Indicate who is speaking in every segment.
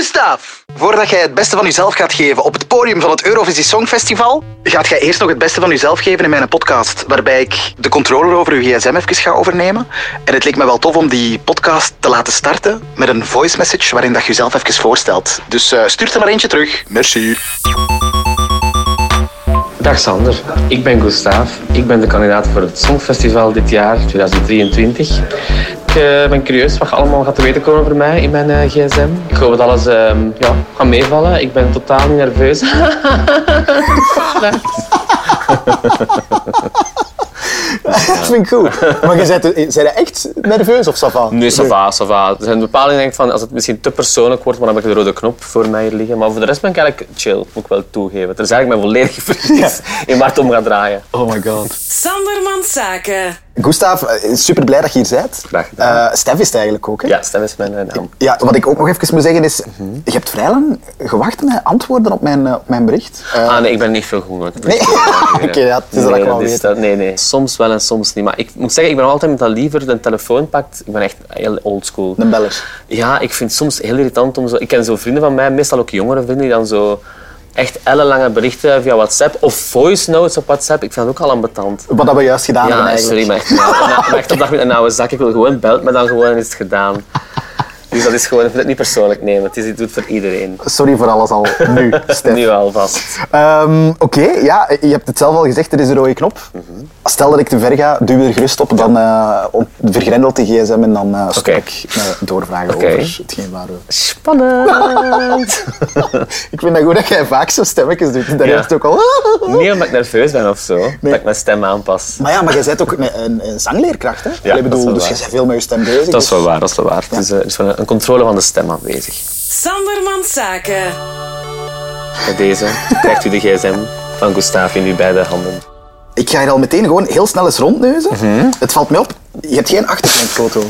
Speaker 1: Gustav! Voordat jij het beste van jezelf gaat geven op het podium van het Eurovisie Songfestival, gaat jij eerst nog het beste van jezelf geven in mijn podcast, waarbij ik de controle over uw gsm even ga overnemen. En het leek me wel tof om die podcast te laten starten met een voice message waarin dat je jezelf even voorstelt. Dus eh stuur er maar eentje terug. Merci.
Speaker 2: Dag Sander, ik ben Gustav. Ik ben de kandidaat voor het Songfestival dit jaar, 2023. Ik eh, ben curieus wat je allemaal gaat te weten komen over mij in mijn eh, gsm. Ik hoop dat alles eh, ja, gaat meevallen. Ik ben totaal niet nerveus.
Speaker 3: Dat vind ik goed. Maar je bent, zijn je echt nerveus of Safa?
Speaker 2: Nee, ça va, ça va. Er zijn bepaalde dingen van, als het misschien te persoonlijk wordt, maar dan heb ik de rode knop voor mij hier liggen. Maar voor de rest ben ik eigenlijk chill, moet ik wel toegeven. Er is eigenlijk mijn volledige verlies in waar het om gaat draaien.
Speaker 3: Oh my god.
Speaker 4: Sandermans Zaken.
Speaker 3: Gustav, super blij Eh, dat je hier bent.
Speaker 2: Graag gedaan.
Speaker 3: Eh, Stef is het eigenlijk ook, hè?
Speaker 2: Ja, Mhm. stem is mijn eh, naam.
Speaker 3: Ja, wat ik ook nog even moet zeggen is, je hebt vrij lang gewacht met antwoorden op mijn, eh, op mijn bericht. Eh,
Speaker 2: Ah nee, ik ben niet veel goed.
Speaker 3: Nee. Oké, ja, het is dat ik wel
Speaker 2: dat is
Speaker 3: weet.
Speaker 2: dat- nee, nee. Soms wel en soms niet. Maar ik moet zeggen, ik ben altijd met dat liever de telefoon pakt. Ik ben echt heel oldschool.
Speaker 3: Een beller.
Speaker 2: Ja, ik vind het soms heel irritant om zo... Ik ken zo vrienden van mij, meestal ook jongere vrienden, die dan zo echt ellenlange berichten via WhatsApp of voice notes op WhatsApp. Ik vind dat ook al ambetant.
Speaker 3: wat hebben we juist gedaan hebben
Speaker 2: Ja,
Speaker 3: eigenlijk.
Speaker 2: sorry, maar echt, maar, maar, maar echt op dag met een oude zak. Ik wil gewoon, belt me dan gewoon en is het gedaan. Dus dat is gewoon, ik wil het niet persoonlijk nemen. Het is, het doet voor iedereen.
Speaker 3: Sorry voor alles al nu, Stef.
Speaker 2: Nu alvast.
Speaker 3: Ehm, Oké, ja, je hebt het zelf al gezegd, er is een rode knop.
Speaker 2: Mhm.
Speaker 3: Stel dat ik te ver ga, duw er gerust op, dan eh, on- vergrendelt de gsm en dan eh stop
Speaker 2: Oké.
Speaker 3: ik met doorvragen
Speaker 2: Oké.
Speaker 3: over hetgeen waar we...
Speaker 2: Spannend.
Speaker 3: Ik vind het goed dat jij vaak zo stemmetjes doet, daar
Speaker 2: Ja.
Speaker 3: heeft het ook al...
Speaker 2: Niet omdat ik nerveus ben of zo, dat ik mijn stem aanpas.
Speaker 3: Maar ja, maar jij bent ook een, een, een zangleerkracht, hè?
Speaker 2: dat
Speaker 3: ik
Speaker 2: is
Speaker 3: bedoel,
Speaker 2: wel
Speaker 3: dus
Speaker 2: waar.
Speaker 3: je bent veel met je stem bezig.
Speaker 2: Dat is
Speaker 3: dus-
Speaker 2: wel waar, dat is wel waar. Het is, eh, er is wel een- een controle van de stem aanwezig.
Speaker 4: Sandermans Zaken.
Speaker 2: Met deze krijgt u de gsm van Gustave in uw beide handen.
Speaker 3: Ik ga hier al meteen gewoon heel snel eens rondneuzen.
Speaker 2: Mhm.
Speaker 3: Het valt mij op, je hebt geen achtergrondfoto.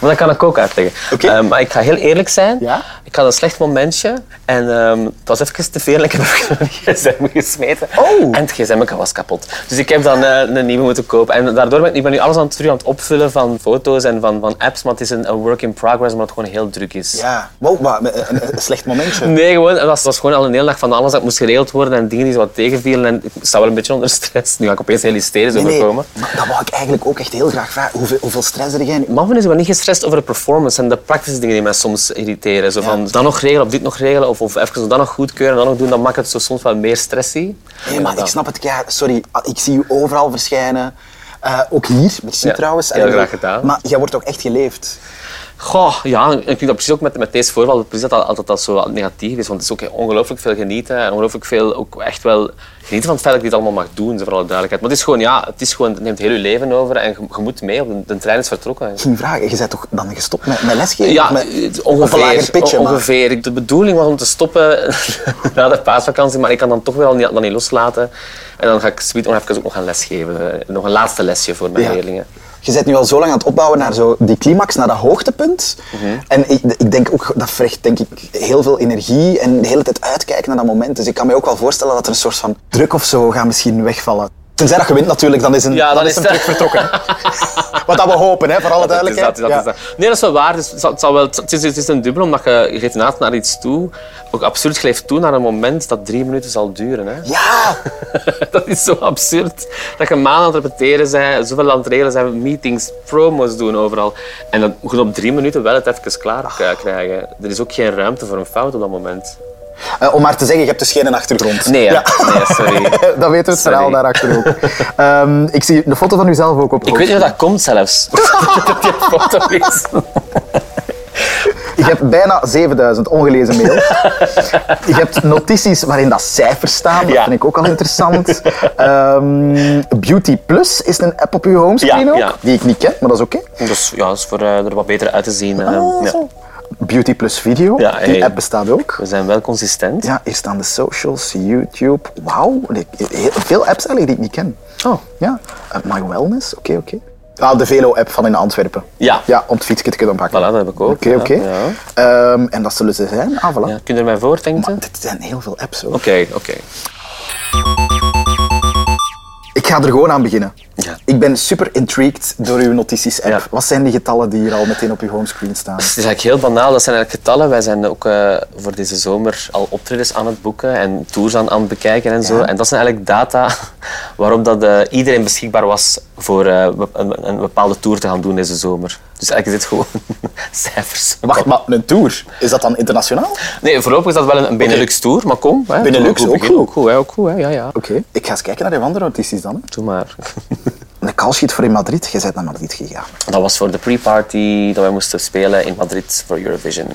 Speaker 2: Maar dat kan ik ook uitleggen.
Speaker 3: Oké.
Speaker 2: Eh, maar ik ga heel eerlijk zijn.
Speaker 3: Ja?
Speaker 2: Ik had een slecht momentje. En ehm, het was even te veel en ik heb even mijn gsm gesmeten.
Speaker 3: Oh.
Speaker 2: En het gsm was kapot. Dus ik heb dan eh, een nieuwe moeten kopen. En daardoor ben ik, ik ben nu alles aan het, terug aan het opvullen van foto's en van, van apps. Maar het is een, een work in progress, omdat het gewoon heel druk is.
Speaker 3: Ja. Wow, maar een, een- een slecht momentje.
Speaker 2: Nee, gewoon, het was, het was gewoon al een hele dag van alles dat moest geregeld worden en dingen die zo wat tegenvielen. En ik sta wel een beetje onder stress. Nu ga ik opeens heel hysterisch
Speaker 3: Nee, nee,
Speaker 2: overkomen.
Speaker 3: maar dat wou ik eigenlijk ook echt heel graag vragen. Hoeveel, hoeveel stress er jij nu...
Speaker 2: Mannen is wel niet gestrest over de performance en de praktische dingen die mij soms irriteren. Zo van, dan nog regelen of dit nog regelen of, of even dan nog goedkeuren en dan nog doen, dan maakt het zo soms wel meer stressy.
Speaker 3: Nee, maar ik snap het. Ja, sorry, Ah, ik zie u overal verschijnen. Eh, ook hier, merci
Speaker 2: Ja,
Speaker 3: trouwens.
Speaker 2: heel graag gedaan.
Speaker 3: Maar jij wordt ook echt geleefd.
Speaker 2: Goh, ja, en ik denk dat precies ook met, met deze voorval, precies dat altijd dat zo negatief is. Want het is ook heel- ongelooflijk veel genieten en ongelooflijk veel ook echt wel genieten van het feit dat ik dit allemaal mag doen, voor alle duidelijkheid. Maar het is gewoon, ja, het, is gewoon, het neemt heel je leven over en je, je moet mee, op de, de trein is vertrokken.
Speaker 3: Geen vraag. Je bent toch dan gestopt met, met lesgeven?
Speaker 2: Ja,
Speaker 3: Of met,
Speaker 2: het-
Speaker 3: Of een lager
Speaker 2: ongeveer.
Speaker 3: pitje,
Speaker 2: on-
Speaker 3: maar-
Speaker 2: ongeveer. Ik- De bedoeling was om te stoppen na de paasvakantie, maar ik kan dan toch wel niet, dat niet loslaten. En dan ga ik zometeen nog even ook nog een les geven. Eh, Nog een laatste lesje voor mijn
Speaker 3: Ja.
Speaker 2: leerlingen.
Speaker 3: Je bent nu al zo lang aan het opbouwen naar zo die climax, naar dat hoogtepunt.
Speaker 2: Mhm.
Speaker 3: En ik, ik denk ook, dat vergt denk ik heel veel energie en de hele tijd uitkijken naar dat moment. Dus ik kan me ook wel voorstellen dat er een soort van druk of zo gaat misschien wegvallen. Tenzij dat je wint natuurlijk, dan is een,
Speaker 2: Ja,
Speaker 3: dan
Speaker 2: dan
Speaker 3: is
Speaker 2: is
Speaker 3: een
Speaker 2: dat-
Speaker 3: truc vertrokken. Wat dat we hopen, hè, voor alle
Speaker 2: Dat is
Speaker 3: duidelijkheid.
Speaker 2: dat, dat is dat. Nee, dat is wel waar. Dus het, zal- het zal wel, het, is, het is een dubbel, omdat je, je geeft inderdaad naar iets toe. Ook absurd, je leeft toe naar een moment dat drie minuten zal duren. Hè.
Speaker 3: Ja,
Speaker 2: dat is zo absurd. Dat je maanden aan het repeteren bent, zoveel aan het regelen zijn, meetings, promos doen overal. En dan goed op drie minuten wel het even klaar k- krijgen. Er is ook geen ruimte voor een fout op dat moment.
Speaker 3: Eh, om maar te zeggen, je hebt dus geen achtergrond.
Speaker 2: Nee, hè?
Speaker 3: Ja.
Speaker 2: nee sorry.
Speaker 3: dat weten we het verhaal
Speaker 2: Sorry.
Speaker 3: daarachter ook. Ehm, ik zie de foto van uzelf ook op.
Speaker 2: Ik weet niet of dat komt zelfs. dat die foto is.
Speaker 3: Je hebt bijna 7000 ongelezen mails. Je hebt notities waarin dat cijfers staan. Dat
Speaker 2: Ja.
Speaker 3: vind ik ook al interessant. Ehm, Beauty Plus is een app op je homescreen
Speaker 2: Ja,
Speaker 3: ook.
Speaker 2: ja.
Speaker 3: Die ik niet ken, maar dat is oké.
Speaker 2: Dus ja, dat is voor eh, er wat beter uit te zien. eh, ja.
Speaker 3: Beauty Plus Video,
Speaker 2: Ja,
Speaker 3: die
Speaker 2: hey.
Speaker 3: app bestaat ook.
Speaker 2: We zijn wel consistent.
Speaker 3: Ja, hier staan de socials, YouTube. Wauw, ik- heel veel apps eigenlijk die ik niet ken.
Speaker 2: Oh.
Speaker 3: Ja, Eh, My Wellness, oké, oké. Ah, de Velo-app van in Antwerpen.
Speaker 2: Ja.
Speaker 3: Ja, om het fietsje te kunnen pakken.
Speaker 2: Voilà, dat heb ik ook,
Speaker 3: Oké,
Speaker 2: ja,
Speaker 3: oké.
Speaker 2: ja.
Speaker 3: Ehm, en dat zullen ze zijn. Ah, voilà.
Speaker 2: Ja, kun je er mij voor, denkt u? Oké,
Speaker 3: Dit zijn heel veel apps hoor.
Speaker 2: oké.
Speaker 3: Ik ga er gewoon aan beginnen.
Speaker 2: Ja.
Speaker 3: Ik ben super intrigued door uw notities-app.
Speaker 2: Ja.
Speaker 3: Wat zijn die getallen die hier al meteen op uw homescreen staan?
Speaker 2: Dus Het is eigenlijk heel banaal. Dat zijn eigenlijk getallen. Wij zijn ook eh, voor deze zomer al optredens aan het boeken en tours aan, aan het bekijken en zo. En dat zijn eigenlijk data waarop dat, eh, iedereen beschikbaar was voor eh, be- een, een bepaalde tour te gaan doen deze zomer. Dus eigenlijk is dit gewoon cijfers.
Speaker 3: Wacht, maar een tour, is dat dan internationaal? Oké,
Speaker 2: Nee, voorlopig is dat wel een, een Benelux-tour, maar kom. Hè,
Speaker 3: Benelux,
Speaker 2: Doe een
Speaker 3: ook
Speaker 2: begin.
Speaker 3: goed.
Speaker 2: Ook goed, hè, ook goed hè, ja, ja.
Speaker 3: ik ga eens kijken naar uw andere notities dan. hè.
Speaker 2: Doe maar.
Speaker 3: Een callsheet voor in Madrid. Je bent naar Madrid gegaan.
Speaker 2: Dat was voor de pre-party dat wij moesten spelen in Madrid voor Eurovision.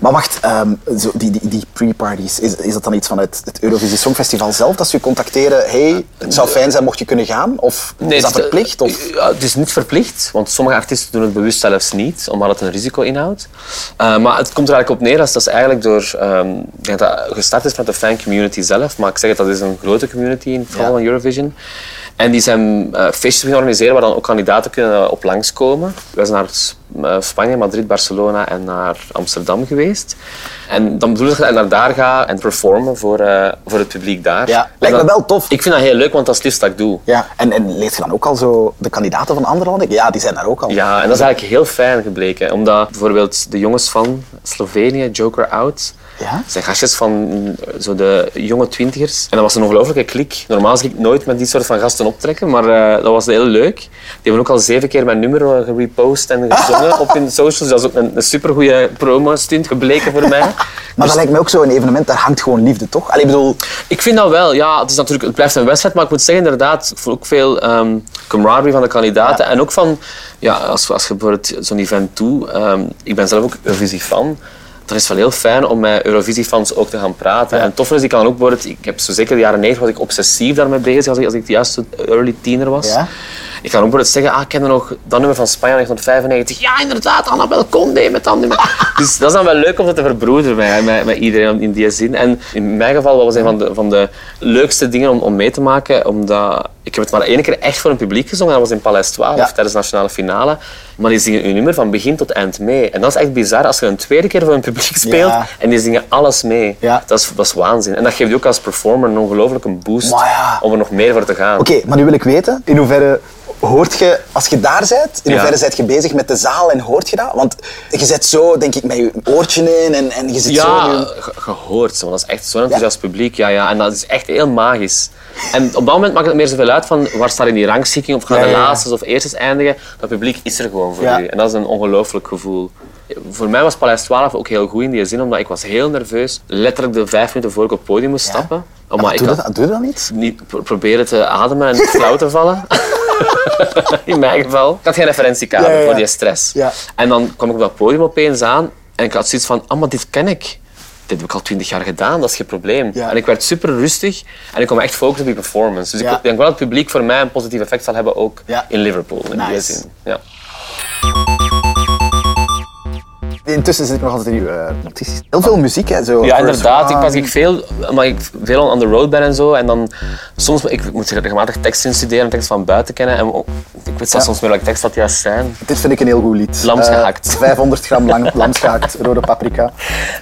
Speaker 3: Maar wacht, ehm, zo, die, die, die pre-parties, is, is dat dan iets van het, het Eurovisie Songfestival zelf? Dat ze je contacteren, hey, het zou fijn zijn mocht je kunnen gaan? Of is dat
Speaker 2: het
Speaker 3: verplicht? Of?
Speaker 2: Ja, het is niet verplicht, want sommige artiesten doen het bewust zelfs niet, omdat het een risico inhoudt. Eh, maar het komt er eigenlijk op neer als dat is eigenlijk door, ehm, ik denk dat dat gestart is met de fancommunity zelf, maar ik zeg het, dat is een grote community in het geval
Speaker 3: Ja.
Speaker 2: van Eurovision. En die zijn eh, feestjes gaan organiseren waar dan ook kandidaten kunnen op langskomen. We zijn naar S- eh, Spanje, Madrid, Barcelona en naar Amsterdam geweest. En dan bedoel ik dat ik naar daar ga en performen voor, eh, voor het publiek daar.
Speaker 3: Ja,
Speaker 2: En
Speaker 3: lijkt me
Speaker 2: dat-
Speaker 3: wel tof.
Speaker 2: Ik vind dat heel leuk, want dat is het liefst dat ik doe.
Speaker 3: Ja. En, en leert je dan ook al zo de kandidaten van andere landen? Ja, die zijn daar ook al.
Speaker 2: Ja, en dat is eigenlijk heel fijn gebleken. Omdat bijvoorbeeld de jongens van Slovenië, Joker Out,
Speaker 3: Ja?
Speaker 2: zijn gastjes van mm, zo de jonge twintigers. En dat was een ongelofelijke klik. Normaal zou ik nooit met die soort van gasten optrekken, maar eh, dat was heel leuk. Die hebben ook al zeven keer mijn nummer eh, gerepost en gezongen op hun socials. Dus dat is ook een, een supergoeie promo-stunt gebleken voor mij.
Speaker 3: Maar dat lijkt me ook zo'n evenement, daar hangt gewoon liefde, toch? Allee, ik bedoel,
Speaker 2: Ik vind dat wel, ja. Het, is natuurlijk, het blijft een wedstrijd, maar ik moet zeggen inderdaad, ik voel ook veel ehm camaraderie van de kandidaten. En ook van, ja, als, als je bijvoorbeeld zo'n event doet, ehm, ik ben zelf ook Eurovisie-fan, dan is het wel heel fijn om met Eurovisie-fans ook te gaan praten. En toffer is, ik kan ook bijvoorbeeld, ik heb zo zeker de jaren 90 was ik obsessief daarmee bezig, als ik, als ik de juiste early tiener was.
Speaker 3: Ja.
Speaker 2: Ik kan ook bijvoorbeeld zeggen, ah, ken je nog dat nummer van Spanje 1995? Ja, inderdaad, Annabel Conde met dat nummer. dus dat is dan wel leuk om dat te verbroederen met, met, met iedereen in die zin. En in mijn geval, wat was een van de, van de leukste dingen om, om mee te maken, omdat ik heb het maar één keer echt voor een publiek gezongen, dat was in Paleis 12,
Speaker 3: Ja.
Speaker 2: tijdens de nationale finale. Maar die zingen hun nummer van begin tot eind mee. En dat is echt bizar als je een tweede keer voor een publiek speelt
Speaker 3: Ja.
Speaker 2: en die zingen alles mee.
Speaker 3: Ja.
Speaker 2: Dat, is, dat is waanzin. En dat geeft je ook als performer een ongelofelijke boost
Speaker 3: Maar ja.
Speaker 2: om er nog meer voor te gaan.
Speaker 3: Oké, maar nu wil ik weten, in hoeverre hoort je, als je daar bent, in
Speaker 2: Ja.
Speaker 3: hoeverre bent je bezig met de zaal en hoort je dat? Want je zit zo, denk ik, met je oortje in en, en je zit zo...
Speaker 2: Ja,
Speaker 3: in-
Speaker 2: ge- gehoord. zo, Want dat is echt zo'n enthousiast publiek. Ja, ja. En dat is echt heel magisch. En op dat moment maakt het meer zoveel uit van waar staat in die rangschikking of gaan
Speaker 3: Ja,
Speaker 2: de
Speaker 3: ja, ja.
Speaker 2: laatste of eerstes eindigen. Dat publiek is er gewoon voor
Speaker 3: Ja.
Speaker 2: u. En dat is een ongelooflijk gevoel. Voor mij was Paleis 12 ook heel goed in die zin, omdat ik was heel nerveus. Letterlijk de vijf minuten voor ik op het podium moest stappen. Omdat ik
Speaker 3: Doe je
Speaker 2: had-
Speaker 3: dat, doe je dat niet?
Speaker 2: niet pro- proberen te ademen en niet flauw te vallen. In mijn geval. Ik had geen referentiekader
Speaker 3: Ja, ja, ja.
Speaker 2: voor die stress.
Speaker 3: Ja.
Speaker 2: En dan kwam ik op dat podium opeens aan en ik had zoiets van, ah, maar dit ken ik. Dit heb ik al twintig jaar gedaan, dat is geen probleem.
Speaker 3: Ja.
Speaker 2: En ik werd super rustig en ik kon me echt focussen op die performance. Dus
Speaker 3: Ja.
Speaker 2: ik denk wel dat het publiek voor mij een positief effect zal hebben ook
Speaker 3: Ja.
Speaker 2: in Liverpool. In die
Speaker 3: Nice.
Speaker 2: zin. Ja.
Speaker 3: Intussen zit ik nog altijd in uw eh, notities. Heel veel muziek, hè? Zo
Speaker 2: Ja,
Speaker 3: First
Speaker 2: inderdaad. Ik
Speaker 3: Round.
Speaker 2: pas ik veel, omdat ik veel on the road ben en zo. En dan soms, ik moet regelmatig tekst instuderen, en tekst van buiten kennen. En ook- ik weet zelfs soms meer welke tekst dat juist zijn.
Speaker 3: Dit vind ik een heel goed lied.
Speaker 2: Lams
Speaker 3: Eh,
Speaker 2: gehakt.
Speaker 3: 500 gram lang lams gehakt, rode paprika.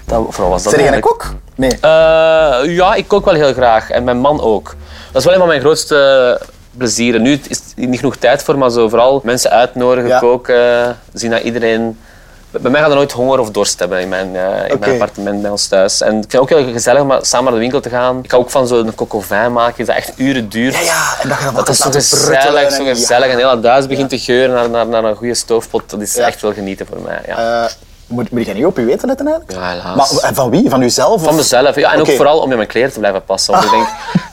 Speaker 2: Dat, vooral was dat
Speaker 3: Zijn jij een
Speaker 2: eigenlijk.
Speaker 3: kok? Nee.
Speaker 2: Eh, ja, ik kook wel heel graag. En mijn man ook. Dat is wel een van mijn grootste eh, plezieren. Nu is er niet genoeg tijd voor, maar zo vooral mensen uitnodigen,
Speaker 3: Ja.
Speaker 2: koken, zien dat iedereen... Bij mij gaat er nooit honger of dorst hebben in mijn, eh, in
Speaker 3: Oké.
Speaker 2: mijn appartement bij ons thuis. En ik vind het ook heel gezellig om samen naar de winkel te gaan. Ik hou ook van zo'n coq au vin maken, dat echt uren duurt.
Speaker 3: Ja, ja. En dat je dat
Speaker 2: Dat is zo
Speaker 3: laten
Speaker 2: gezellig,
Speaker 3: pruttelen
Speaker 2: zo
Speaker 3: en-
Speaker 2: gezellig. En heel dat huis begint te geuren naar, naar, naar een goede stoofpot. Dat is
Speaker 3: Ja.
Speaker 2: echt wel genieten voor mij. Ja.
Speaker 3: Ja. Eh, moet, moet jij niet op je weten letten eigenlijk?
Speaker 2: Ja, helaas.
Speaker 3: Maar eh, van wie? Van uzelf?
Speaker 2: Van mezelf. Ja, en
Speaker 3: Oké.
Speaker 2: ook vooral om in mijn kleren te blijven passen. Want ik denk,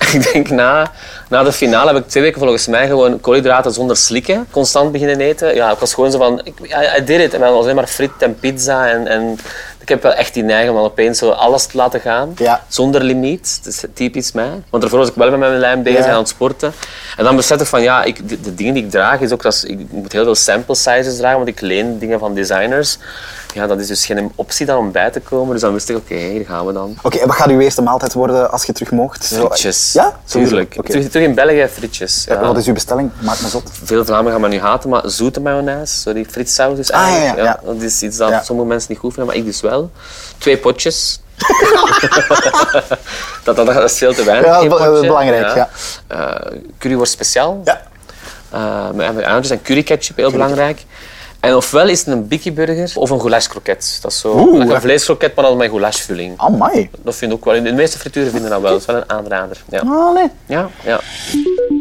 Speaker 3: Ah.
Speaker 2: ik denk na, na de finale heb ik twee weken volgens mij gewoon koolhydraten zonder slikken constant beginnen eten. Ja, ik was gewoon zo van, ik, I, I did it. En dan was alleen maar friet en pizza. En, en ik heb wel echt die neiging om dan opeens zo alles te laten gaan.
Speaker 3: Ja.
Speaker 2: Zonder limiet. Dat is typisch mij. Want daarvoor was ik wel met mijn lijm bezig
Speaker 3: Ja.
Speaker 2: en aan het sporten. En dan besef ik van, ja, ik, de, de dingen die ik draag is ook, dat is- ik moet heel veel sample sizes dragen, want ik leen dingen van designers. Ja, dat is dus geen optie dan om bij te komen. Dus dan wist ik, oké, hier gaan we dan.
Speaker 3: Oké, en wat gaat uw eerste maaltijd worden als je terug moogt? Zo-
Speaker 2: Frietjes.
Speaker 3: Ja?
Speaker 2: Tuurlijk.
Speaker 3: Oké.
Speaker 2: Terug, terug in België, frietjes.
Speaker 3: Eh,
Speaker 2: Ja.
Speaker 3: Wat is uw bestelling? Maak me zot.
Speaker 2: Veel Vlamingen gaan me nu haten, maar zoete mayonaise, zo die frietsaus is
Speaker 3: Ah, ja,
Speaker 2: eigenlijk...
Speaker 3: ja, ja.
Speaker 2: Dat is iets dat
Speaker 3: Ja.
Speaker 2: sommige mensen niet goed vinden, maar ik dus wel. Twee potjes. dat, dat, dat is veel te weinig.
Speaker 3: Ja,
Speaker 2: Eén
Speaker 3: dat is
Speaker 2: potje,
Speaker 3: belangrijk, ja.
Speaker 2: Eh, curry wordt speciaal.
Speaker 3: Ja.
Speaker 2: Eh, met met aantjes en curry ketchup, heel belangrijk. En ofwel is het een bikkie burger of een goulashkroket. Dat is zo
Speaker 3: Oeh,
Speaker 2: like een
Speaker 3: ja.
Speaker 2: vleeskroket, maar dan met goulashvulling.
Speaker 3: Amai.
Speaker 2: Dat vind ik ook wel. De meeste frituren vinden dat wel. Dat is wel een aanrader. Ja,
Speaker 3: Allee.
Speaker 2: ja, ja.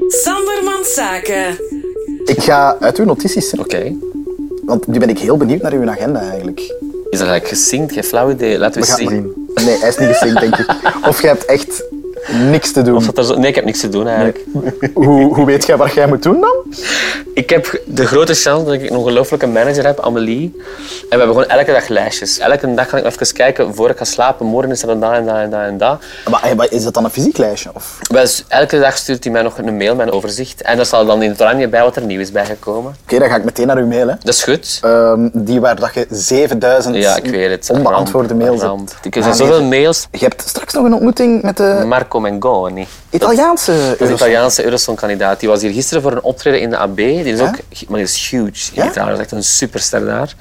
Speaker 4: Sandermans Zaken.
Speaker 3: Ik ga uit uw notities, hè,
Speaker 2: oké.
Speaker 3: want nu ben ik heel benieuwd naar uw agenda eigenlijk.
Speaker 2: Is dat eigenlijk gezinkt? Geen flauw idee. Laten
Speaker 3: We
Speaker 2: we,
Speaker 3: gaan het
Speaker 2: zien.
Speaker 3: zien. Nee, hij is niet gesynct, denk ik. Of je hebt echt niks te doen.
Speaker 2: Zat er zo- Nee, ik heb niks te doen eigenlijk.
Speaker 3: Hoe, hoe weet jij wat jij moet doen dan?
Speaker 2: Ik heb de grote chance dat ik een ongelofelijke manager heb, Amelie. En we hebben gewoon elke dag lijstjes. Elke dag ga ik even kijken, voor ik ga slapen, morgen is er dan dat en dat en dat en dat.
Speaker 3: Maar, eh, maar is dat dan een fysiek lijstje? Of? Oké,
Speaker 2: Wel, s- elke dag stuurt hij mij nog een mail, mijn overzicht. En daar staat dan in het oranje bij wat er nieuw is bijgekomen.
Speaker 3: dan ga ik meteen naar uw mail. Hè.
Speaker 2: Dat is goed.
Speaker 3: Ehm, die waar dat je 7000
Speaker 2: Ja, ik weet het.
Speaker 3: Eh, onbeantwoorde
Speaker 2: Ramp,
Speaker 3: mails
Speaker 2: ramp.
Speaker 3: hebt.
Speaker 2: Ik heb
Speaker 3: Ah, nee,
Speaker 2: zoveel mails.
Speaker 3: Je hebt straks nog een ontmoeting met de
Speaker 2: Marco Mengoni.
Speaker 3: Italiaanse
Speaker 2: Dat is
Speaker 3: Eurosong.
Speaker 2: een Italiaanse Eurosong-kandidaat. Die was hier gisteren voor een optreden in de AB. Die is ook, maar die is huge in
Speaker 3: Ja?
Speaker 2: Italië. Dat is echt een superster daar.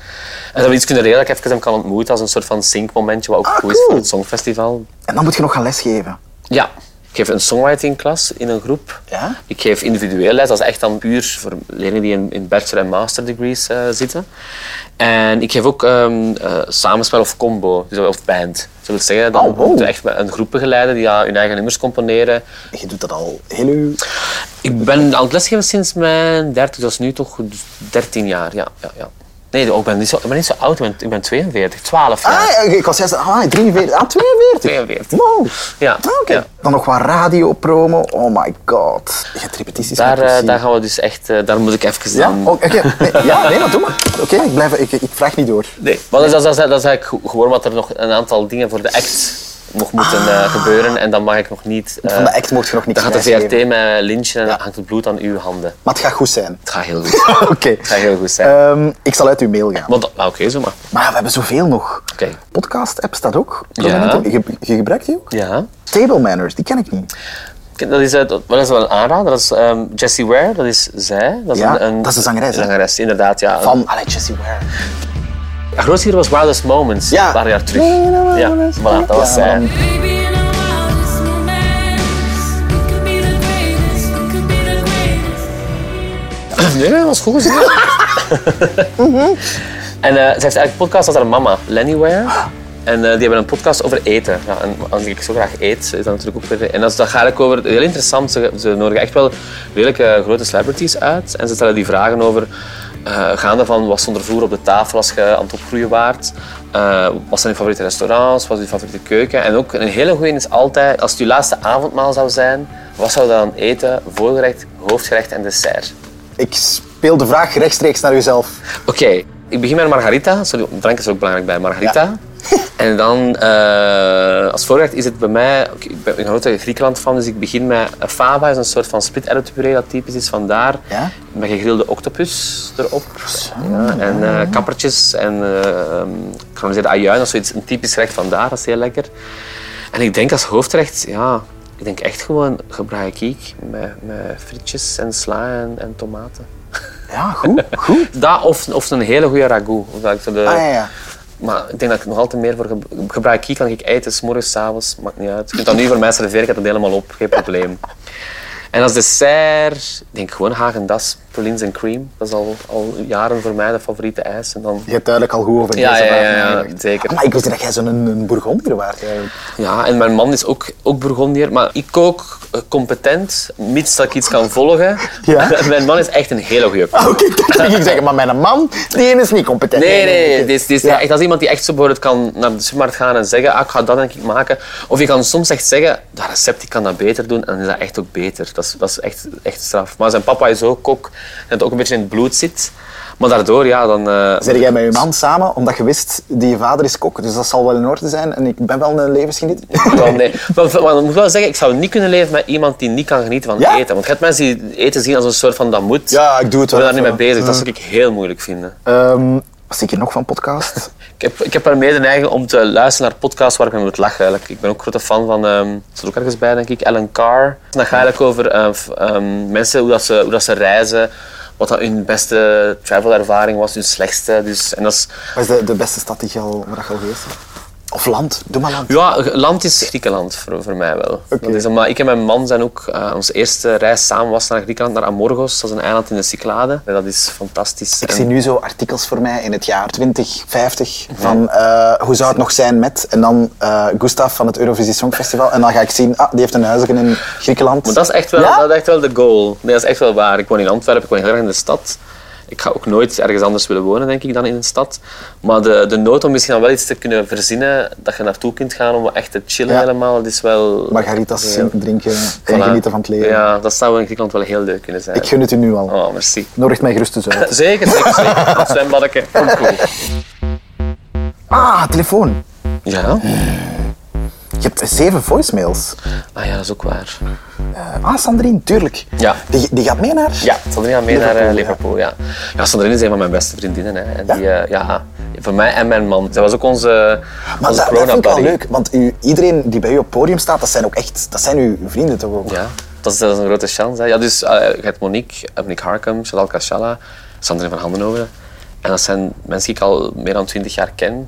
Speaker 2: En dat we iets kunnen regelen dat ik even hem kan ontmoeten als een soort van syncmomentje, wat ook
Speaker 3: Ah,
Speaker 2: goed is voor
Speaker 3: cool.
Speaker 2: het Songfestival.
Speaker 3: En dan moet je nog gaan lesgeven.
Speaker 2: Ja. Ik geef een songwriting-klas in een groep.
Speaker 3: Ja?
Speaker 2: Ik geef individueel les. Dat is echt dan puur voor leerlingen die in, in bachelor- en master degrees eh, zitten. En ik geef ook ehm, eh, samenspel of combo, dus- of band. Dat wil zeggen, dan
Speaker 3: Oh, wow.
Speaker 2: moeten we echt met een groep begeleiden die ja, hun eigen nummers componeren.
Speaker 3: Je doet dat al heel uw...
Speaker 2: Ik ben aan het lesgeven sinds mijn 30, dat is nu toch 13 jaar. Ja, ja, ja. Nee, ik ben, niet zo, ik ben niet zo oud, ik ben, ik ben 42, 12 jaar.
Speaker 3: Ah, ja, ik was juist... Ah, 43. Ah, 42.
Speaker 2: 42.
Speaker 3: Wow.
Speaker 2: Ja,
Speaker 3: Ah, oké.
Speaker 2: ja.
Speaker 3: Dan nog wat radiopromo. Oh my god. Je hebt repetities
Speaker 2: Daar,
Speaker 3: moeten
Speaker 2: eh,
Speaker 3: zien.
Speaker 2: daar gaan we dus echt, eh, daar moet ik even
Speaker 3: Ja?
Speaker 2: dan-
Speaker 3: Oh, oké. Nee, ja, nee, dat doe maar. Oké, ik, blijf- ik, ik vraag niet door.
Speaker 2: Nee, maar dat, is- dat, is- dat is eigenlijk go- gewoon wat er nog een aantal dingen voor de act nog moeten eh, gebeuren en dan mag ik nog niet. eh,
Speaker 3: Ah. Van de act mocht je nog niks
Speaker 2: dan gaat de
Speaker 3: prijsgeven.
Speaker 2: VRT mij lynchen en dan hangt het bloed aan uw handen.
Speaker 3: Maar het gaat goed zijn.
Speaker 2: Het gaat heel goed zijn.
Speaker 3: Oké.
Speaker 2: Het gaat heel goed zijn.
Speaker 3: Ehm, ik zal uit uw mail gaan.
Speaker 2: Want, ah, oké, zo maar.
Speaker 3: Maar we hebben zoveel nog.
Speaker 2: Oké.
Speaker 3: Podcast-app staat ook.
Speaker 2: Ja.
Speaker 3: Je, je gebruikt die ook?
Speaker 2: Ja.
Speaker 3: Table Manners, die ken ik niet.
Speaker 2: Kijk, Dat is, eh, dat dat is wel een aanrader. Dat is ehm, Jessie Ware, dat is zij. Dat is,
Speaker 3: Ja,
Speaker 2: een, een-
Speaker 3: dat is de zangeres, hè?
Speaker 2: zangeres, inderdaad. Ja.
Speaker 3: Van Allee, Jesse Ware.
Speaker 2: Haar grootste hier was Wildest Moments,
Speaker 3: Ja.
Speaker 2: een paar jaar terug.
Speaker 3: Ja.
Speaker 2: Ja, voilà, dat was
Speaker 3: Ja,
Speaker 2: zij.
Speaker 3: man.
Speaker 5: Baby, in our wildest moments, we could be the greatest, we could be the greatest.
Speaker 2: Nee, dat was goed gezien. En eh, ze heeft eigenlijk een podcast als haar mama, Lenny Ware. En eh, die hebben een podcast over eten. Ja, en als ik zo graag eet, is dat natuurlijk ook weer... En dat, is- dat gaat eigenlijk over... Heel interessant, ze, ze nodigen echt wel redelijk eh, grote celebrities uit. En ze stellen die vragen over... eh, gaande van, wat stond er vroeger op de tafel als je aan het opgroeien waart? Eh, wat zijn je favoriete restaurants? Wat is je favoriete keuken? En ook een hele goeie is altijd, als het je laatste avondmaal zou zijn, wat zou je dan eten? Voorgerecht, hoofdgerecht en dessert.
Speaker 3: Ik speel de vraag rechtstreeks naar uzelf.
Speaker 2: Oké, ik begin met margarita. Sorry, drank is ook belangrijk bij margarita. en dan, eh, als voorrecht is het bij mij... oké, ik ben een grote Griekenland fan, dus ik begin met een fava. is een soort van split puree dat typisch is vandaar.
Speaker 3: Ja?
Speaker 2: Met gegrilde octopus erop. Ja, en eh, kappertjes en eh, gecaramelliseerde ajuin. Dat is zoiets, een typisch gerecht vandaar. Dat is heel lekker. En ik denk als hoofdrecht, ja... Ik denk echt gewoon gebraaikiek met, met frietjes en sla en, en tomaten.
Speaker 3: Ja, goed. goed.
Speaker 2: Dat of, of een hele goede ragout. Of dat ik zo de-
Speaker 3: Ah, ja, ja.
Speaker 2: Maar ik denk dat ik nog altijd meer voor ge- gebruik hier kan ik eten, s morgens, s avonds, maakt niet uit. Je kunt dat nu voor mij serveren, ik heb dat helemaal op, geen probleem. En als dessert, denk ik gewoon Hagendas, pralines en cream. Dat is al, al jaren voor mij de favoriete ijs. En dan,
Speaker 3: Je hebt duidelijk al goed over
Speaker 2: Ja,
Speaker 3: deze
Speaker 2: ja,
Speaker 3: vraag
Speaker 2: ja, ja,
Speaker 3: nagedacht.
Speaker 2: zeker.
Speaker 3: Ah, maar ik wist niet dat jij zo'n een, een Bourgondier waard eigenlijk.
Speaker 2: ja, en mijn man is ook, ook Bourgondier, maar ik kook eh, competent, mits dat ik iets kan volgen.
Speaker 3: Ja? Ah,
Speaker 2: mijn man is echt een hele goede kok.
Speaker 3: Oké, dat ging ik zeggen, maar mijn man, die ene is niet competent.
Speaker 2: Nee, nee,
Speaker 3: oké.
Speaker 2: dit is, dit is
Speaker 3: Ja.
Speaker 2: echt, dat is iemand die echt zo bijvoorbeeld kan naar de supermarkt gaan en zeggen, ah, ik ga dat denk ik maken. Of je kan soms echt zeggen, dat recept ik kan dat beter doen en dan is dat echt ook beter. Dat is, dat is echt, echt straf. Maar zijn papa is ook kok en het ook een beetje in het bloed zit. Maar daardoor, ja, dan... eh,
Speaker 3: Zeg jij met je man samen, omdat je wist, die je vader is kok, dus dat zal wel in orde zijn en ik ben wel een levensgenieter.
Speaker 2: Dan, nee. maar, maar ik moet wel zeggen, ik zou niet kunnen leven met iemand die niet kan genieten van
Speaker 3: Ja?
Speaker 2: eten. Want je hebt mensen die eten zien als een soort van dat moet.
Speaker 3: Ja, ik doe het wel
Speaker 2: Ik ben daar
Speaker 3: even.
Speaker 2: niet
Speaker 3: Mm.
Speaker 2: mee bezig. Dat zou ik heel moeilijk vinden.
Speaker 3: Ehm, wat zie ik hier nog van podcast?
Speaker 2: Ik heb, ik heb er mede neiging om te luisteren naar podcasts waar ik mee moet lachen. Eigenlijk. Ik ben ook grote fan van, ehm er zit ook ergens bij denk ik, Ellen Carr. En dan gaat eigenlijk over eh, f- ehm, mensen, hoe, dat ze, hoe dat ze reizen, wat dat hun beste travelervaring was, hun slechtste. Dus, en dat is
Speaker 3: Wat is de, de beste stad die je al, waar je al geweest bent? Of land. Doe maar land.
Speaker 2: Ja, land is Griekenland voor, voor mij wel. Dat is, maar ik en mijn man zijn ook, eh, onze eerste reis samen was naar Griekenland, naar Amorgos. Dat is een eiland in de Cyclade. En dat is fantastisch.
Speaker 3: Ik zie nu zo artikels voor mij in het jaar 2050
Speaker 2: Mhm.
Speaker 3: van eh, hoe zou het nog zijn met en dan eh Gustav van het Eurovisie Songfestival en dan ga ik zien, ah, die heeft een huisje in Griekenland.
Speaker 2: Maar dat is echt wel,
Speaker 3: Ja?
Speaker 2: dat is echt wel de goal. Nee, dat is echt wel waar. Ik woon in Antwerpen, ik woon heel erg in de stad. Ik ga ook nooit ergens anders willen wonen, denk ik, dan in een stad. Maar de, de nood om misschien dan wel iets te kunnen verzinnen, dat je naartoe kunt gaan om echt te chillen
Speaker 3: Ja.
Speaker 2: helemaal, dat is wel...
Speaker 3: Margaritas
Speaker 2: heel-
Speaker 3: drinken en
Speaker 2: Voilà.
Speaker 3: genieten van het leven.
Speaker 2: Ja, dat zou in Griekenland wel heel leuk kunnen zijn.
Speaker 3: Ik gun het u nu al.
Speaker 2: Oh, merci.
Speaker 3: Nodig mij gerust dus uit.
Speaker 2: Zeker, zeker, zeker. Dat zwembaddeke. Komt goed.
Speaker 3: Ah, telefoon.
Speaker 2: Ja?
Speaker 3: Je hebt zeven voicemails.
Speaker 2: Ah ja, dat is ook waar.
Speaker 3: Ah, Sandrine, tuurlijk.
Speaker 2: Ja.
Speaker 3: Die, die gaat mee naar...
Speaker 2: Ja, Sandrine gaat mee naar eh,
Speaker 3: Liverpool,
Speaker 2: Liverpool. Ja. Ja, Sandrine is een van mijn beste vriendinnen. Hè. En
Speaker 3: Ja?
Speaker 2: Die, eh, ja, voor mij en mijn man. Zij was ook onze,
Speaker 3: Maar
Speaker 2: onze
Speaker 3: dat, dat vind ik wel
Speaker 2: corona-buddy.
Speaker 3: leuk, want u, iedereen die bij u op het podium staat, dat zijn ook echt, dat zijn uw vrienden toch ook?
Speaker 2: Ja, dat is, dat is een grote chance. Hè. Ja, dus eh, je hebt Monique, eh, Monique Harkum, Shadal Kashala, Sandrine van Handenhoven. En dat zijn mensen die ik al meer dan twintig jaar ken.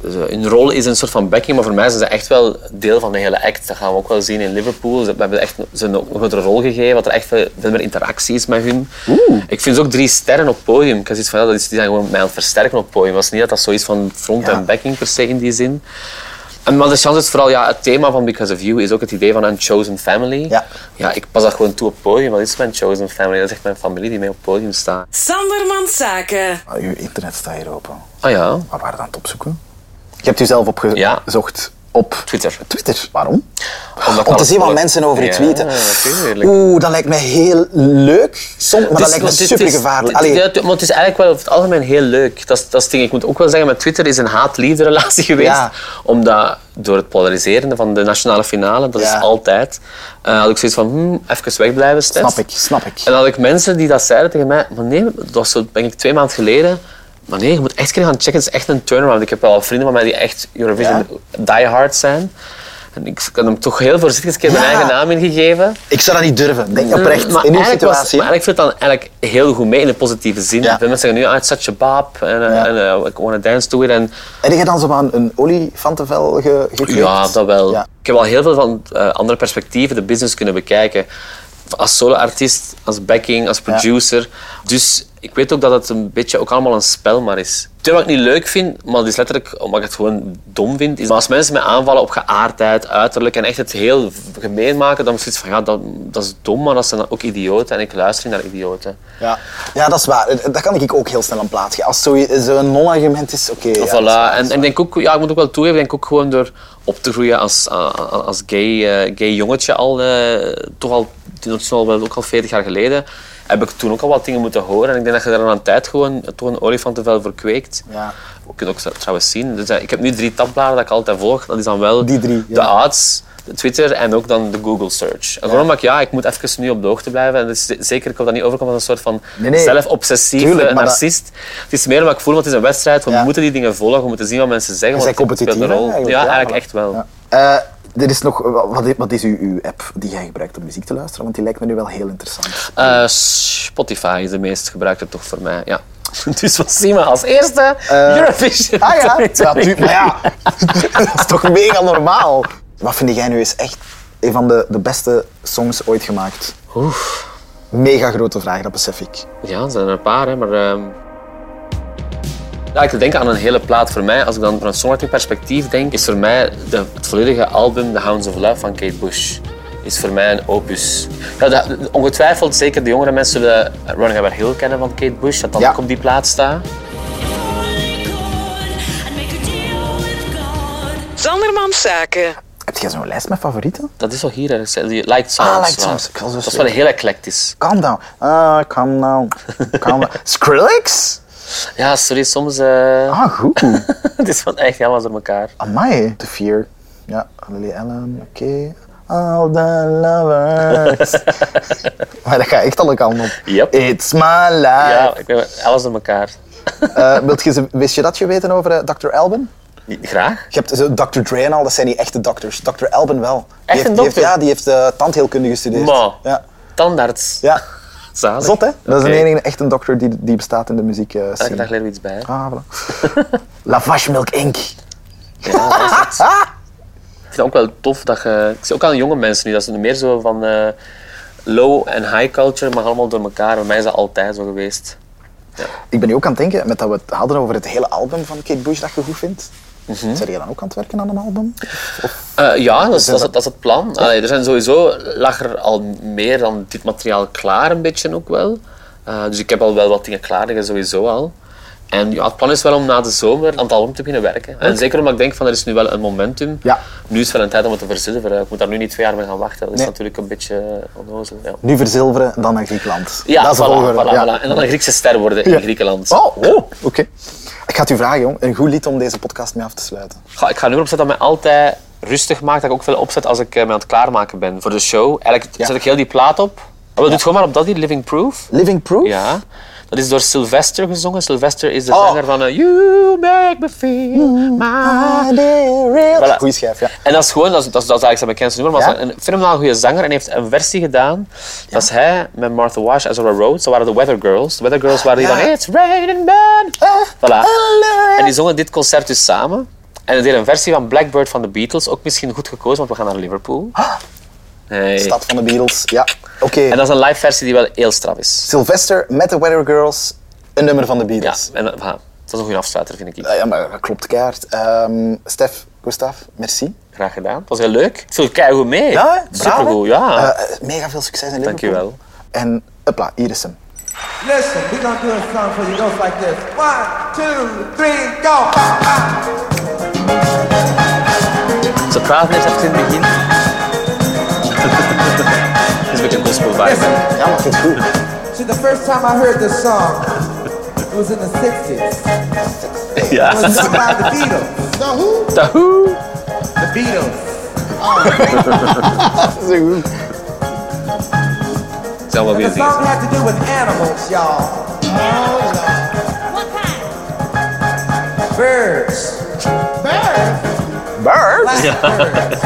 Speaker 2: Dus, eh, hun rol is een soort van backing, maar voor mij zijn ze echt wel deel van de hele act. Dat gaan we ook wel zien in Liverpool. Ze we hebben echt, ze hebben ook een grotere rol gegeven, dat er echt veel, veel meer interactie is met hun. Ik vind ze ook drie sterren op het podium. Ik had zoiets van, ja, dat is, die zijn gewoon mij aan het versterken op het podium. Het was niet dat dat zo is van front-
Speaker 3: Ja.
Speaker 2: en backing per se in die zin. En maar de chance is vooral, ja, het thema van Because of You is ook het idee van een chosen family.
Speaker 3: Ja.
Speaker 2: ja ik pas dat gewoon toe op het podium. Wat is mijn chosen family? Dat is echt mijn familie die mee op het podium staat.
Speaker 4: Sandermans Zaken.
Speaker 3: Ah, Uw internet staat hier open.
Speaker 2: Ah ja,
Speaker 3: Maar waar dan het opzoeken? Je hebt u zelf
Speaker 2: Ja.
Speaker 3: opgezocht op
Speaker 2: Twitter.
Speaker 3: Twitter. Waarom?
Speaker 2: Omdat
Speaker 3: Om te
Speaker 2: alles-
Speaker 3: zien wat mensen over je
Speaker 2: Ja,
Speaker 3: tweeten.
Speaker 2: natuurlijk.
Speaker 3: Oeh, dat lijkt mij heel leuk. Som, maar dat
Speaker 2: Het is-
Speaker 3: lijkt me
Speaker 2: het is-
Speaker 3: super gevaarlijk.
Speaker 2: het is-
Speaker 3: Allee,
Speaker 2: ja, het- Maar het is eigenlijk wel over het algemeen heel leuk. Dat is, dat is het ding. Ik moet ook wel zeggen, met Twitter is een haat-liefde relatie geweest.
Speaker 3: Ja.
Speaker 2: Omdat door het polariseren van de nationale finale, dat
Speaker 3: Ja.
Speaker 2: is altijd, eh, had ik zoiets van, hmm, even wegblijven, Stef.
Speaker 3: snap ik, snap ik.
Speaker 2: En dan had ik mensen die dat zeiden tegen mij, maar nee, dat was zo, denk ik twee maanden geleden. Maar nee, je moet echt kunnen gaan checken, het is echt een turnaround. Ik heb wel vrienden van mij die echt Eurovision diehard zijn. En ik had hem toch heel voorzichtig een keer mijn
Speaker 3: Ja.
Speaker 2: eigen naam ingegeven.
Speaker 3: Ik zou dat niet durven. Denk oprecht.
Speaker 2: Mm, Eh, Maar
Speaker 3: in uw
Speaker 2: eigenlijk was-
Speaker 3: situatie.
Speaker 2: maar eigenlijk viel het dan eigenlijk heel goed mee in de positieve zin.
Speaker 3: Ja.
Speaker 2: Veel mensen zeggen nu, ah, it's such a bop. En, eh,
Speaker 3: Ja.
Speaker 2: en eh, ik wanna dance to it. En,
Speaker 3: Heb je dan zo aan een olifantenvel ge gekleed?
Speaker 2: ja, dat wel.
Speaker 3: Ja.
Speaker 2: Ik heb al heel veel van eh, andere perspectieven de business kunnen bekijken. Als solo-artiest, als backing, als producer. Dus ik weet ook dat het een beetje ook allemaal een spel maar is. Het wat ik niet leuk vind, maar het is letterlijk omdat ik het gewoon dom vind, is maar als mensen mij aanvallen op geaardheid, uiterlijk en echt het heel v- gemeen maken, dan is het van ja, dat, dat is dom, maar dat zijn dan ook idioten en ik luister niet naar idioten.
Speaker 3: Ja. ja, dat is waar. Eh, Dat kan ik ook heel snel aan plaatsen. Als zo'n zo eh, zo'n non-argument is, oké. ja, dat is waar,
Speaker 2: voilà.
Speaker 3: dat
Speaker 2: En,
Speaker 3: is
Speaker 2: en ik denk ook, ja, ik moet ook wel toegeven, ik denk ook gewoon door op te groeien als, a- a- als gay, eh, gay jongetje al, eh, toch al, toen dat is al wel ook al 40 jaar geleden, heb ik toen ook al wat dingen moeten horen. En ik denk dat je daar aan een tijd gewoon eh, toch een olifantenvel voor kweekt.
Speaker 3: Ja.
Speaker 2: We kunnen ook trouwens zien. Dus, eh, ik heb nu drie tabbladen dat ik altijd volg. Dat is dan wel
Speaker 3: Die drie, ja.
Speaker 2: de ads, de Twitter en ook dan de Google search. En Gewoon omdat ik, ja, ik moet even nu op de hoogte blijven. En dat is zeker, ik hoop dat niet overkomt als een soort van
Speaker 3: Nee, nee.
Speaker 2: zelfobsessieve
Speaker 3: Tuurlijk, maar dat-
Speaker 2: narcist is- Het is meer omdat ik voel, want het is een wedstrijd. We
Speaker 3: Ja.
Speaker 2: moeten die dingen volgen, we moeten zien wat mensen zeggen.
Speaker 3: Zijn
Speaker 2: want het speelt
Speaker 3: competitief
Speaker 2: een
Speaker 3: hè,
Speaker 2: rol.
Speaker 3: eigenlijk?
Speaker 2: Ja, eigenlijk
Speaker 3: voilà.
Speaker 2: echt wel.
Speaker 3: Ja. Eh, er is nog, wat, wat is uw, uw app die jij gebruikt om muziek te luisteren? Want die lijkt me nu wel heel interessant.
Speaker 2: Eh, Spotify is de meest gebruikte toch voor mij. Ja. Dus wat zien we als eerste? Eurovision.
Speaker 3: Ah ja, natuurlijk. Maar ja, dat is toch mega normaal. Wat vind jij nu eens echt een van de, de beste songs ooit gemaakt?
Speaker 2: Oef.
Speaker 3: Mega grote vraag, dat besef ik.
Speaker 2: Ja, er zijn er een paar, hè, maar. ehm, Ja, ik denk aan een hele plaat voor mij. Als ik dan van een songwriting perspectief denk, is voor mij de, het volledige album The Hounds of Love van Kate Bush. Is voor mij een opus. Ja, de- ongetwijfeld, zeker de jongere mensen zullen Running Over Hill kennen van Kate Bush, dat dan
Speaker 3: Ja.
Speaker 2: ook op die plaat staat.
Speaker 4: Sandermans Zaken.
Speaker 3: Heb jij zo'n lijst met favorieten?
Speaker 2: Dat is al hier ergens. hè, Die Light Sounds.
Speaker 3: Ah, Light
Speaker 2: ja.
Speaker 3: Sounds. Ik wil zo
Speaker 2: Dat is wel
Speaker 3: zeggen.
Speaker 2: heel eclectisch.
Speaker 3: Calm down. Ah, calm down. Calm down. Skrillex?
Speaker 2: Ja, sorry, soms... eh,
Speaker 3: Ah, goed.
Speaker 2: het is van echt helemaal door elkaar.
Speaker 3: Amai. The Fear. Ja, Lily Allen. Oké. All the lovers. maar dat gaat echt alle kanten op.
Speaker 2: Yep.
Speaker 3: It's my life.
Speaker 2: Ja, ik weet, alles door elkaar.
Speaker 3: Eh, wilt je ze- wist je dat je weten over eh, Dr. Alban?
Speaker 2: Graag.
Speaker 3: Je hebt zo Dr. Dre en al, dat zijn niet echte dokters. Dr. Alban wel. Die
Speaker 2: Echt
Speaker 3: heeft,
Speaker 2: een
Speaker 3: die heeft-
Speaker 2: dokter?
Speaker 3: ja, die heeft eh, tandheelkunde gestudeerd.
Speaker 2: Maar.
Speaker 3: Ja.
Speaker 2: Tandarts.
Speaker 3: ja,
Speaker 2: Zalig.
Speaker 3: zot hè? Dat is
Speaker 2: Oké. Ah,
Speaker 3: de enige echte dokter die, die bestaat in de muziek eh,
Speaker 2: Elke dag
Speaker 3: scene.
Speaker 2: leren we iets bij. hè.
Speaker 3: Ah, voilà. Lavash Milk Inc.
Speaker 2: Ja, dat is het. ik vind het ook wel tof dat je... Ik zie ook aan jonge mensen nu, dat ze nu meer zo van eh, low en high culture, maar allemaal door elkaar. Bij mij is dat altijd zo geweest.
Speaker 3: Ik ben nu ook aan het denken, met dat we het hadden over het hele album van Kate Bush dat je goed vindt.
Speaker 2: Mhm.
Speaker 3: Zijn jij dan ook aan het werken aan een album?
Speaker 2: Eh, ja, dat is, dat, is, dat is het plan. Allee, er zijn sowieso, lag er al meer dan dit materiaal klaar, een beetje ook wel. Eh, dus ik heb al wel wat dingen klaar liggen, sowieso al. En ja, het plan is wel om na de zomer aan het album te beginnen werken. En zeker omdat ik denk van er is nu wel een momentum.
Speaker 3: Ja.
Speaker 2: Nu is het wel een tijd om het te verzilveren. Ik moet daar nu niet twee jaar mee gaan wachten. Dat is
Speaker 3: Nee.
Speaker 2: natuurlijk een beetje eh, onnozel. Ja,
Speaker 3: Nu verzilveren, dan naar Griekenland.
Speaker 2: ja
Speaker 3: dat is de
Speaker 2: voilà,
Speaker 3: volgorde,
Speaker 2: voilà,
Speaker 3: ja.
Speaker 2: voilà. En dan een Griekse ster worden in
Speaker 3: Ja.
Speaker 2: Griekenland.
Speaker 3: Oh, oh oké. Ik ga het u vragen, jong. Een goed lied om deze podcast mee af te sluiten.
Speaker 2: Ga- ik ga een nummer opzetten dat mij altijd rustig maakt. Dat ik ook veel opzet als ik eh, me aan het klaarmaken ben voor de show. Eigenlijk
Speaker 3: Ja.
Speaker 2: zet ik heel die plaat op. Maar doe het gewoon maar op dat die, Living Proof.
Speaker 3: Living Proof?
Speaker 2: Ja. Dat is door Sylvester gezongen. Sylvester is de
Speaker 3: Oh.
Speaker 2: zanger van eh, You Make Me Feel My... Voilà.
Speaker 3: Goeie schijf, ja.
Speaker 2: En dat is gewoon, dat is, dat is, dat is eigenlijk zijn bekendste nummer, maar
Speaker 3: Ja?
Speaker 2: dat is een fenomenaal goede zanger en heeft een versie gedaan. Dat is hij met Martha Wash en Zora Rhodes. Dat waren de Weather Girls. De Weather Girls waren die
Speaker 3: ja. Ah.
Speaker 2: van It's Raining Man.
Speaker 3: Eh,
Speaker 2: Voilà.
Speaker 3: hallo.
Speaker 2: En die zongen dit concert dus samen. En het deed een versie van Blackbird van de Beatles. Ook misschien goed gekozen, want we gaan naar Liverpool. Hey.
Speaker 3: Stad van de Beatles, ja. Oké.
Speaker 2: En dat is een live versie die wel heel straf is.
Speaker 3: Sylvester met de Weather Girls, een nummer van de
Speaker 2: Ja,
Speaker 3: Beatles.
Speaker 2: en, eh, voilà. dat is Eh. een goede afsluiter, vind ik.
Speaker 3: Ja, ja maar dat klopt keihard. Ehm Stef, Gustav, merci.
Speaker 2: Graag gedaan. Het was heel leuk. Ik viel keigoed mee.
Speaker 3: hè? Braaf, hè?
Speaker 2: Supergoed, ja.
Speaker 3: Eh, eh, mega veel succes in Liverpool.
Speaker 2: Dankjewel.
Speaker 3: En, hopla, hier is hem.
Speaker 6: Listen, we're gonna do a song for you goes like this. One, two, three, go!
Speaker 2: Ze praten eerst even in het begin. Het is een beetje een gospel vibe.
Speaker 6: Listen,
Speaker 3: Ja, maar ik vind het goed.
Speaker 6: see, the first time I heard this song, it was in the 60s. It
Speaker 2: Ja.
Speaker 6: was sung by the Beatles. The who?
Speaker 2: Tahoe.
Speaker 6: The Beatles.
Speaker 2: Ah.
Speaker 3: Dat is goed.
Speaker 2: Het zijn wel
Speaker 6: And
Speaker 2: weer
Speaker 6: the
Speaker 2: dingen.
Speaker 6: song had to do with animals, y'all.
Speaker 5: What kind?
Speaker 6: Birds. Birds?
Speaker 3: Bird.
Speaker 6: Blackbirds.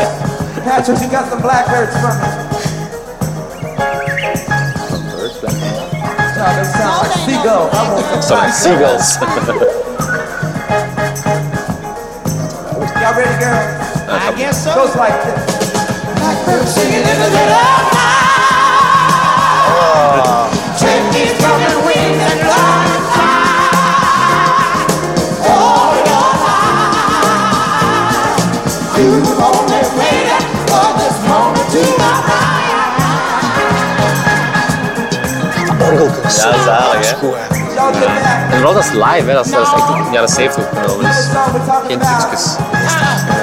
Speaker 6: Patrick, you got some blackbirds from me. Y'all, they sound like seagulls. I want some
Speaker 2: Sorry, seagulls.
Speaker 6: Y'all ready, girl? I guess so. Goes like this.
Speaker 3: Orgelkus.
Speaker 2: Ja, zalig, hè?
Speaker 3: Goed, hè.
Speaker 6: Y'all get that?
Speaker 2: En vooral dat is live, hè. Dat is, dat is echt in de jaren 70 opgenomen.
Speaker 6: This
Speaker 2: Dus
Speaker 6: song we're talking
Speaker 2: geen
Speaker 6: about.
Speaker 2: trucjes.
Speaker 6: It's